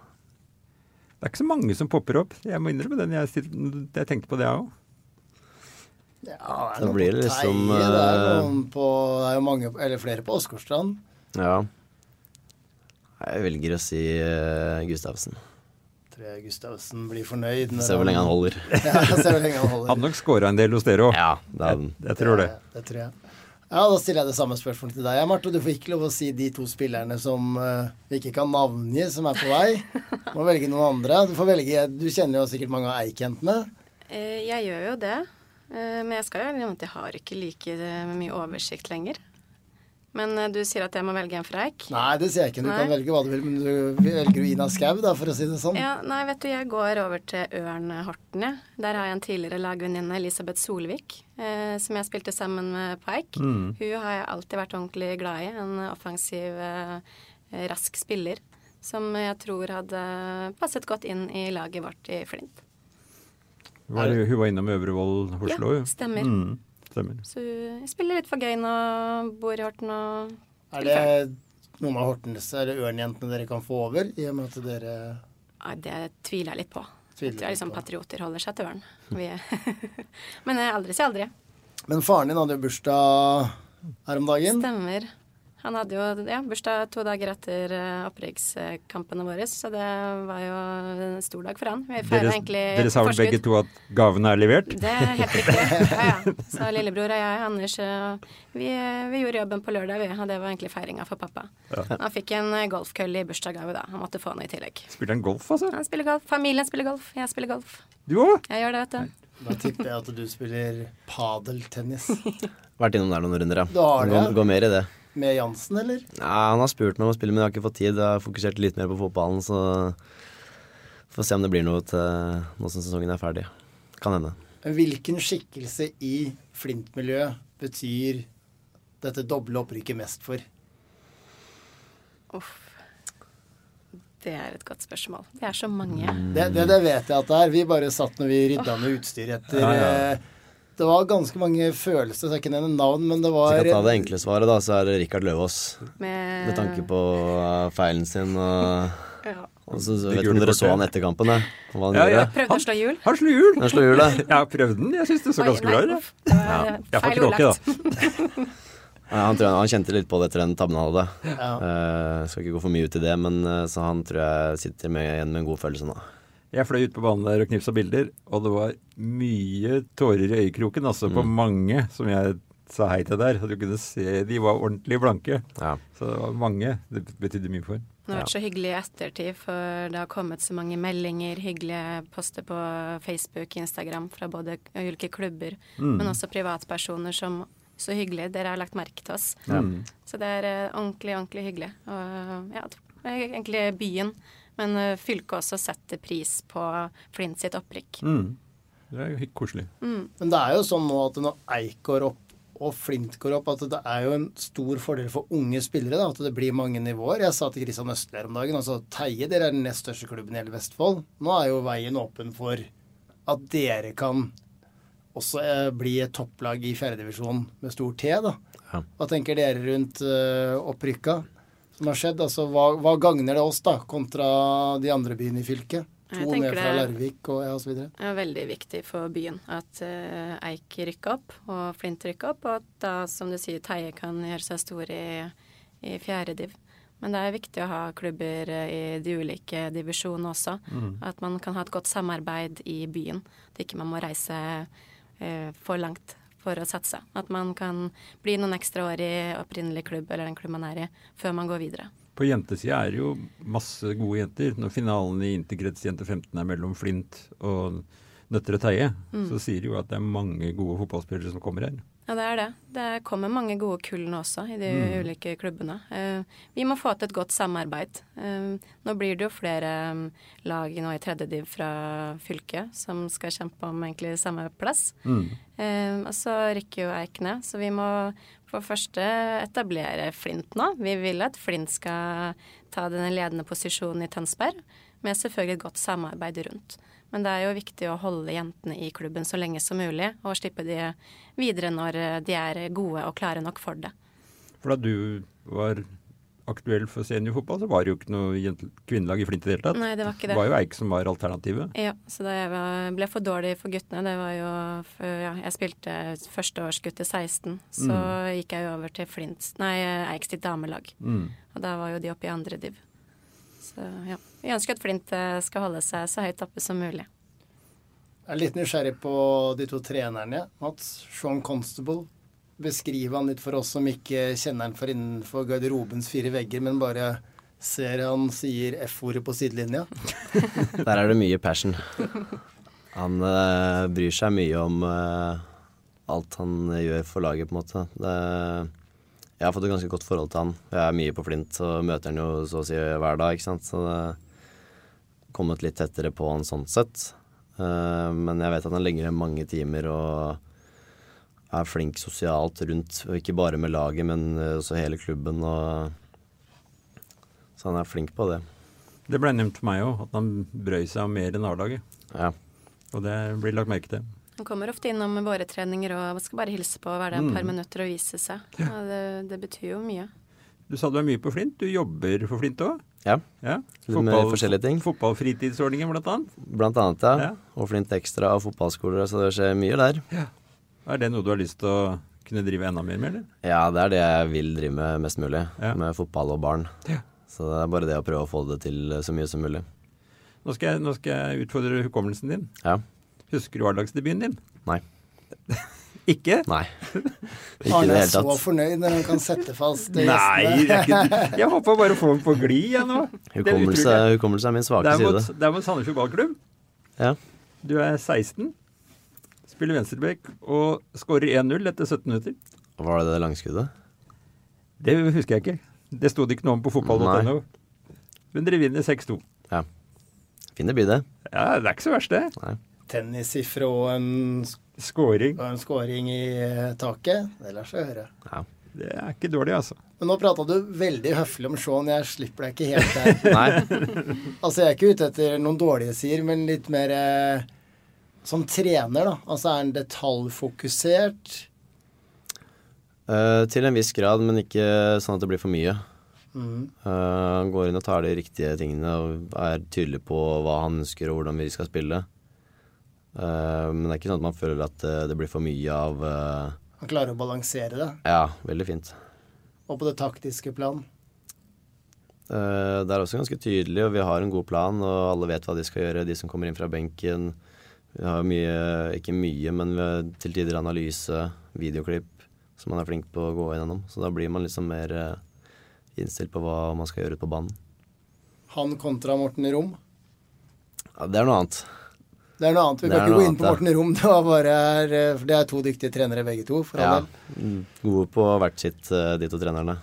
Det er ikke så mange som popper opp. Jeg må innrømme den. Jeg, sitter- jeg tenkte på det, jeg òg. ja, det er Da noen blir på det liksom, Teie, Det er eh, noen på Det er jo mange Eller flere på Åsgårdstrand. Ja. Jeg velger å si eh, Gustavsen. Tror jeg Gustavsen blir fornøyd. når Se hvor lenge han holder. Ja, se hvor lenge han holder. Hadde nok scora en del hos dere òg. Ja, det er den. Jeg tror det. Det tror jeg. Ja, Da stiller jeg det samme spørsmålet til deg, Marte. Du får ikke lov å si de to spillerne som eh, vi ikke kan navngi, som er på vei. Du må velge noen andre. Du får velge Du kjenner jo sikkert mange av Eik-jentene. Eh, Jeg gjør jo det. eh, Men jeg skal jo innrømme at jeg har ikke like eh, mye oversikt lenger. Men eh, du sier at jeg må velge en fra Eik? Nei, det sier jeg ikke. Du kan Nei. velge hva du vil, men du velger jo Ina Skau, da, for å si det sånn. Ja, nei, vet du, jeg går over til Ørn Horten, jeg. Der har jeg en tidligere lagvenninne, Elisabeth Solvik, eh, som jeg spilte sammen med på Eik. Mm. Hun har jeg alltid vært ordentlig glad i. En offensiv, eh, rask spiller som jeg tror hadde passet godt inn i laget vårt i Flint. Var, hun var innom Øvrevoll Oslo, Ja, jo. stemmer. Mm, stemmer. Så hun spiller litt for gøy nå, bor i Horten og Er det noen av Hortens eller Ørn-jentene dere kan få over, i og med at dere Nei, det tviler jeg litt på. Tviler jeg tror jeg litt liksom på. patrioter holder seg til Ørn. Vi er- Men eh, aldri si aldri. Men faren din hadde jo bursdag her om dagen. Stemmer. Han hadde jo ja, bursdag to dager etter eh, opprykkskampene våre, så det var jo en stor dag for han. Vi feirer Dere, egentlig dere sa på vel begge forskudd. to at gavene er levert? Det er helt riktig. Ja, ja. Så lillebror og jeg, Anders, eh, vi, eh, vi gjorde jobben på lørdag, vi. Og det var egentlig feiringa for pappa. Han fikk en eh, golfkølle i bursdagsgave da. Han måtte få noe i tillegg. Spilte han golf, altså? Han spiller golf. Familien spiller golf. Jeg spiller golf. Du òg? Jeg gjør det, vet du. Da tipper jeg at du spiller padeltennis. Vært innom der noen runder, ja. Du har det, Gå, ja. gå mer i det. Med Jansen, eller? Nei, han har spurt meg om å spille, men jeg har ikke fått tid. Jeg har fokusert litt mer på fotballen, så får se om det blir noe til nå som sesongen er ferdig. Kan hende. Hvilken skikkelse i Flint-miljøet betyr dette doble opprykket mest for? Uff. Det er et godt spørsmål. Det er så mange. Mm. Det, det, det vet jeg at det er. Vi bare satt når vi rydda med utstyr etter Ja, ja. eh, Det var ganske mange følelser, så jeg kan ikke nevne navn, men det Så var jeg kan ta det enkle svaret, da, så er det Rikard Løvaas. Med- Med tanke på eh, feilen sin og Ja. Og så, så Det vet ikke om gule dere så kortet. han etter kampen, jeg. Hva han Ja, gjorde. ja. Prøvde å slå hjul. Han slo hjul! Han slo hjulet. Jeg har prøvd den. Jeg syns det så Oi, ganske nei, bra ut. uff, det var- Ja, jeg får feil tråkke, ordlagt. Ja, han, tror jeg, han kjente litt på det etter den tabben han hadde. Ja. Eh, skal ikke gå for mye ut i det, men eh, så han tror jeg sitter med, igjen med en god følelse nå. Jeg fløy ut på banen der og knipsa bilder, og det var mye tårer i øyekroken, altså, på Mm. mange som jeg sa hei til der. Og du kunne se de var ordentlig blanke. Ja. Så det var mange. Det betydde mye for ham. Det har vært så hyggelig i ettertid, for det har kommet så mange meldinger, hyggelige poster på Facebook, Instagram fra både k- ulike klubber, men også privatpersoner som Så hyggelig, dere har lagt merke til oss. Så det er eh, ordentlig, ordentlig hyggelig. Og ja, t- eh, egentlig byen, men eh, fylket også setter pris på Flint sitt opprykk. Det er jo koselig. Men det er jo sånn nå at når Eik går opp og Flint går opp, at det er jo en stor fordel for unge spillere da, at det blir mange nivåer. Jeg sa til Kristian Østli her om dagen altså Teie, dere er den nest største klubben i hele Vestfold. Nå er jo veien åpen for at dere kan også eh, bli et topplag i fjerdedivisjon med stor T. da. Ja. Hva tenker dere rundt eh, opprykka som har skjedd? Altså, hva, hva gagner det oss da, kontra de andre byene i fylket? Jeg To tenker ned fra det- Larvik og ja, og så videre. Det er veldig viktig for byen at eh, Eik rykker opp og Flint rykker opp, og at da, som du sier, Teie kan gjøre seg stor i, i fjerde div. Men det er viktig å ha klubber eh, i de ulike divisjonene også. At man kan ha et godt samarbeid i byen. At ikke man må reise eh, for langt for å satse. At man kan bli noen ekstra år i opprinnelig klubb eller den klubb man er i, før man går videre. På jentesida er det jo masse gode jenter. Når finalen i Interkrets jente 15 er mellom Flint og Nøtterøy Teie, Mm. så sier de jo at det er mange gode fotballspillere som kommer her. Ja, det er det. Det kommer mange gode kull nå også i de ulike klubbene. Eh, vi må få til et godt samarbeid. Eh, nå blir det jo flere eh, lag nå i tredje div fra fylket som skal kjempe om egentlig samme plass. Eh, og så rykker jo Eik ned, så vi må for det første etablere Flint nå. Vi vil at Flint skal ta den ledende posisjonen i Tønsberg, med selvfølgelig et godt samarbeid rundt. Men det er jo viktig å holde jentene i klubben så lenge som mulig, og slippe de videre når eh, de er gode og klare nok for det. For da du var aktuell for seniorfotball, så var det jo ikke noe jente- kvinnelag i Flint i det hele tatt. Nei, det var ikke det. Det var jo Eik som var alternativet. Ja, så det var- ble for dårlig for guttene. Det var jo f- Ja, jeg spilte førsteårsgutt til 16. Så gikk jeg jo over til Flint, nei, Eiks sitt damelag. Og da var jo de oppe i andre div. Så ja. Vi ønsker at Flint eh, skal holde seg så høyt oppe som mulig. Jeg er litt nysgjerrig på de to trenerne, Mats. Sean Constable. Beskriv han litt for oss som ikke kjenner han for innenfor garderobens fire vegger, men bare ser han sier F-ordet på sidelinja. Der er det mye passion. Han eh, bryr seg mye om eh, alt han gjør for laget, på en måte. Det, jeg har fått et ganske godt forhold til han. Jeg er mye på Flint og møter han jo så å si hver dag, ikke sant. Så det har kommet litt tettere på han sånn sett. Eh, men jeg vet at han legger ned mange timer og er flink sosialt rundt, og ikke bare med laget, men eh, også hele klubben. Og, så han er flink på det. Det ble nevnt for meg òg, at han brøy seg om mer enn A-laget. Ja. Og det blir lagt merke til. Han kommer ofte innom med våre treninger og skal bare hilse på og være der et par minutter og vise seg. Og det, det betyr jo mye. Du sa du var mye på Flint. Du jobber for Flint òg? ja. Ja. Litt med forskjellige ting. Fotballfritidsordningen, blant annet. Blant annet, ja. Ja. Og Flint Extra og fotballskoler, så det skjer mye der. Er det noe du har lyst til å kunne drive enda mer med, eller? Ja, det er det jeg vil drive med mest mulig, Ja. med fotball og barn. Så det er bare det å prøve å få det til så mye som mulig. Nå skal jeg, nå skal jeg utfordre hukommelsen din. Ja. Husker du A-lagsdebuten din? Nei. Ikke? Nei. Ikke i Arne det er hele så tatt. fornøyd når han kan sette fast Nei, gjestene. det er ikke, jeg håper bare å få den på glid, jeg nå. Det er Hukommelse, utrolig. hukommelse er min Det svake er mot, side. det er mot Sandefjord ballklubb. Ja. Du er 16, spiller venstreback og skårer 1-0 etter 17 minutter. Var det det langskuddet? Det husker jeg ikke. Det sto det ikke noe om på fotball.no. Men dere vinner 6-2. Ja. Fin debut, det. Ja, det er ikke så verst, det. Nei. Tennissifre og en, Scoring. og en scoring i eh, taket. Det lar seg høre. Ja. Det er ikke dårlig, altså. Men nå prata du veldig høflig om Shaun, jeg slipper deg ikke helt der. Nei. Altså, jeg er ikke ute etter noen dårlige sider, men litt mer eh, som trener, da. Altså, er han detaljfokusert? Eh, til en viss grad, men ikke sånn at det blir for mye. Eh, han går inn og tar de riktige tingene og er tydelig på hva han ønsker og hvordan vi skal spille. Eh, men det er ikke sånn at man føler at eh, det blir for mye av eh, Han klarer å balansere det. Ja, veldig fint. Og på det taktiske plan. Eh, Det er også ganske tydelig, og vi har en god plan, og alle vet hva de skal gjøre, de som kommer inn fra benken. Vi har mye, ikke mye, men vi har til tider analyse, videoklipp, som man er flink på å gå gjennom. Så da blir man liksom mer eh, innstilt på hva man skal gjøre ute på banen. Han kontra Morten Rom. Ja, det er noe annet. Det er noe annet. Vi Det kan er ikke noe gå inn på annet, Morten Rom. Det var bare eh, For det er to dyktige trenere, begge to. For Ja. all del. Mm, Gode på hvert sitt, eh, de to trenerne.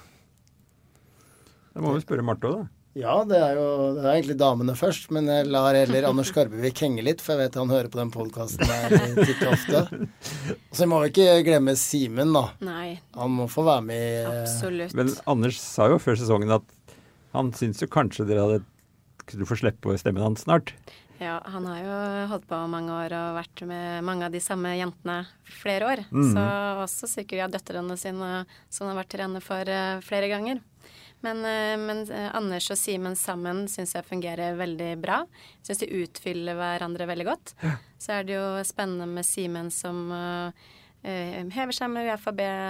Da må vi spørre Marte òg, da. ja, det er jo det er egentlig damene først, men jeg lar heller Anders Skarbevik henge litt, for jeg vet han hører på den podkasten her eh, titt og ofte. Så vi må jo ikke glemme Simen, da. Nei, Han må få være med i eh, absolutt. Men Anders sa jo før sesongen at han syns jo kanskje dere hadde kunne få slippe stemmen hans snart. Ja, han har jo holdt på mange år og vært med mange av de samme jentene flere år. Så også sikkert av døtrene sine som han har vært trener for eh, flere ganger. Men, eh, men eh, Anders og Simen sammen syns jeg fungerer veldig bra. Syns de utfyller hverandre veldig godt. Så er det jo spennende med Simen som eh, eh, hever seg med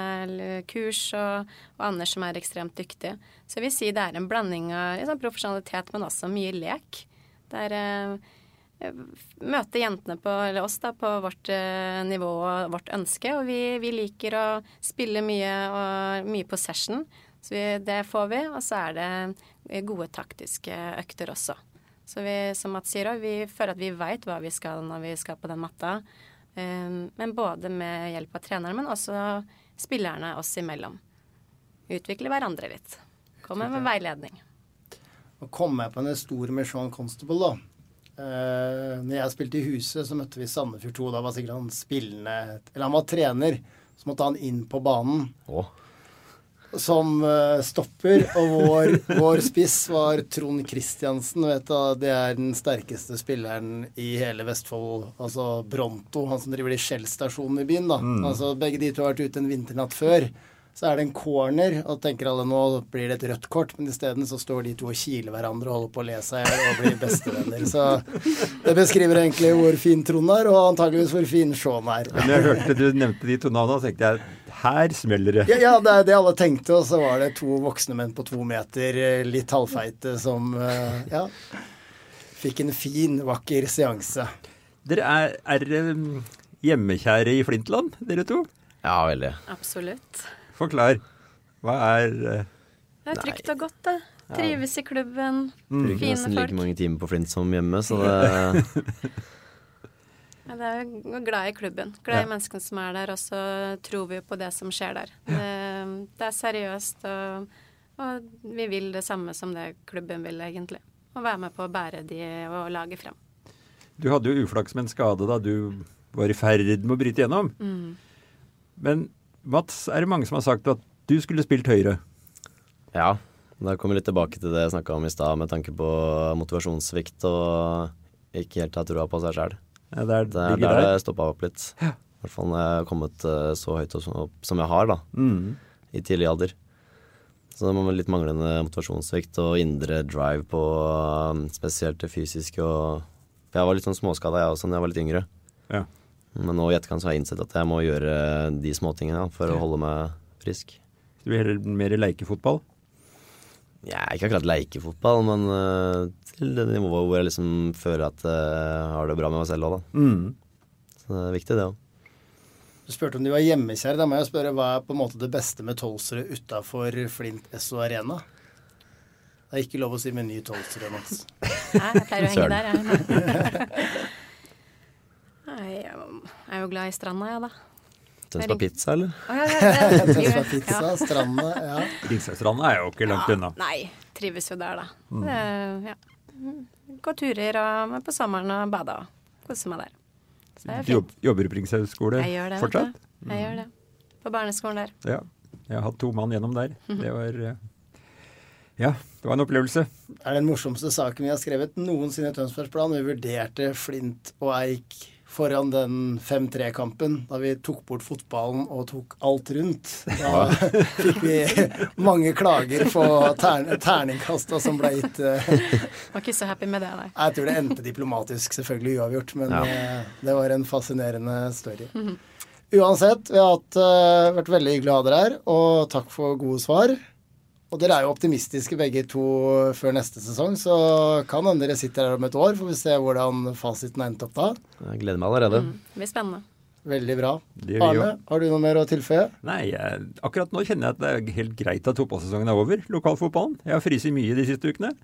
UFAB-kurs, og, og Anders som er ekstremt dyktig. Så jeg vil si det er en blanding av liksom, profesjonalitet, men også mye lek. Det er eh, møte jentene på, eller oss da, på vårt eh, nivå og vårt ønske. Og vi, vi liker å spille mye og mye på session. Så vi, det får vi. Og så er det gode taktiske økter også. Så vi, som Mats sier også, vi føler at vi veit hva vi skal når vi skal på den matta. Eh, men både med hjelp av treneren, men også spillerne oss imellom. Utvikle hverandre litt. Komme med veiledning. Nå kom jeg på en stor med Sean Constable, da. Eh, når jeg spilte i Huset, så møtte vi Sandefjord 2. Da var sikkert han spillende Eller han var trener. Så måtte han inn på banen Å. som eh, stopper. Og vår, vår spiss var Trond Kristiansen. Vet du, det er den sterkeste spilleren i hele Vestfold. Altså Bronto, han som driver de Shell-stasjonene i byen. da. Altså Begge de to har vært ute en vinternatt før. Så er det en corner, og tenker alle nå blir det et rødt kort, men isteden så står de to og kiler hverandre og holder på å le seg i hjel og blir bestevenner. Så det beskriver egentlig hvor fin Trond er, og antageligvis hvor fin Sean er. Men jeg hørte du nevnte de to navnene, så tenkte jeg her smeller det. Ja, ja, det er det alle tenkte, og så var det to voksne menn på to meter, eh, litt halvfeite, som eh, ja, fikk en fin, vakker seanse. Dere er, er dere, mm, hjemmekjære i Flintland, dere to. Ja, veldig. Absolutt. Forklar. Hva er eh, Det er trygt og godt, det. Trives i klubben. Bruker Fine nesten folk. like mange timer på Flint som hjemme, så det Ja, det er jo glad i klubben. Glad i menneskene som er der, og så tror vi jo på det som skjer der. Det, det er seriøst, og, og vi vil det samme som det klubben vil, egentlig. Å være med på å bære de og lage frem. Du hadde jo uflaks med en skade da du var i ferd med å bryte gjennom. Men Mats, er det mange som har sagt at du skulle spilt høyre? Ja, da kommer vi litt tilbake til det jeg snakka om i stad, med tanke på motivasjonssvikt og ikke helt ha trua på seg sjøl. Ja, det er, Det er ligger der der. det stoppa opp litt. I hvert fall når jeg har kommet eh, så høyt opp som- opp som jeg har, da, i tidlig alder. Så det var litt manglende motivasjonssvikt og indre drive på eh, spesielt det fysiske og For jeg var litt sånn småskada, jeg også, da jeg var litt yngre. Ja. Men nå i etterkant så har jeg innsett at jeg må gjøre de småtingene da, for å holde meg frisk. Du vil heller mer leikefotball? Ja, ikke akkurat leikefotball, men eh, til det nivået hvor jeg liksom føler at eh, jeg har det bra med meg selv òg, da. Så det er viktig, det òg. Du spurte om de var hjemmekjære. Da må jeg spørre hva er på en måte det beste med Tolsrud utafor Flint SO Arena? Det er ikke lov å si meny Tolsrud, Mats. Nei, jeg pleier å henge Søren. der, jeg. Nei, jeg er jo glad i stranda, jeg, da. Tønsberg Pizza, eller? Å, ja, ja, ja. Tønsberg Pizza, Strandene, ja. Ringsaksstranda er jo ikke langt unna. Ah, Nei, trives jo der, da. Det, ja. Mm, Gå turer og på sommeren og bade og kose meg der. Så det er Du jo fint. jobb, jobber i Pringshaug skole Jeg gjør det. vet fortsatt? du. Jeg gjør det. På barneskolen der. Ja. Jeg har hatt to mann gjennom der. Mhm. Det var eh, Ja, det var en opplevelse. er den morsomste saken vi har skrevet noensinne i Tønsbergsplan. Vi vurderte Flint og Eik foran den 5-3-kampen da vi tok bort fotballen og tok alt rundt. Da fikk vi mange klager på tern terningkasta som ble gitt. eh. Var ikke så happy med det, nei. Jeg tror det endte diplomatisk, selvfølgelig uavgjort, men eh, det var en fascinerende story. Uansett, vi har hatt, eh, vært veldig hyggelig å ha dere her, og takk for gode svar. Og dere er jo optimistiske begge to før neste sesong, så kan hende dere sitter her om et år, får vi se hvordan fasiten har endt opp da. Jeg gleder meg allerede. Det blir spennende. Veldig bra. Det gjør vi Arne, har du noe mer å tilføye? Nei, jeg, akkurat nå kjenner jeg at det er helt greit at fotballsesongen er over, lokalfotballen. Jeg har fryst mye de siste ukene,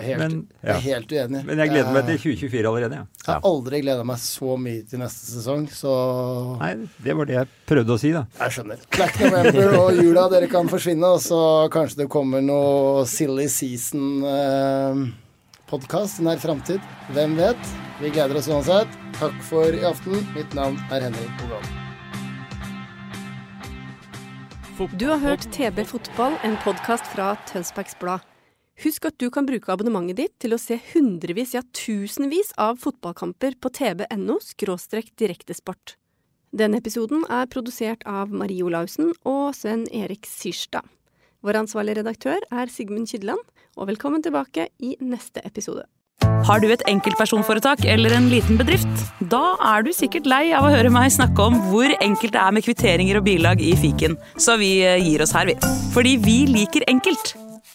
Jeg er helt, Men- jeg er helt uenig. men jeg gleder meg Jeg- til 2024 allerede. Ja. Jeg har aldri gleda meg så mye til neste sesong, så Nei, det var det jeg prøvde å si, da. Jeg skjønner. Black November og jula, dere kan forsvinne, og så kanskje det kommer noe Silly Season-podkast i nær framtid. Hvem vet? Vi gleder oss uansett. Takk for i aften. Mitt navn er Henrik Bogan. Du har hørt TB Fotball, en podkast fra Tønsbergs Blad. Husk at du kan bruke abonnementet ditt til å se hundrevis, ja tusenvis av fotballkamper på tb.no skråstrek direktesport. Denne episoden er produsert av Marie Olaussen og Sven Erik Syrstad. Vår ansvarlige redaktør er Sigmund Kydland, og velkommen tilbake i neste episode. Har du et enkeltpersonforetak eller en liten bedrift? Da er du sikkert lei av å høre meg snakke om hvor enkelt det er med kvitteringer og bilag i fiken, så vi eh, gir oss her, vi. Fordi vi liker enkelt.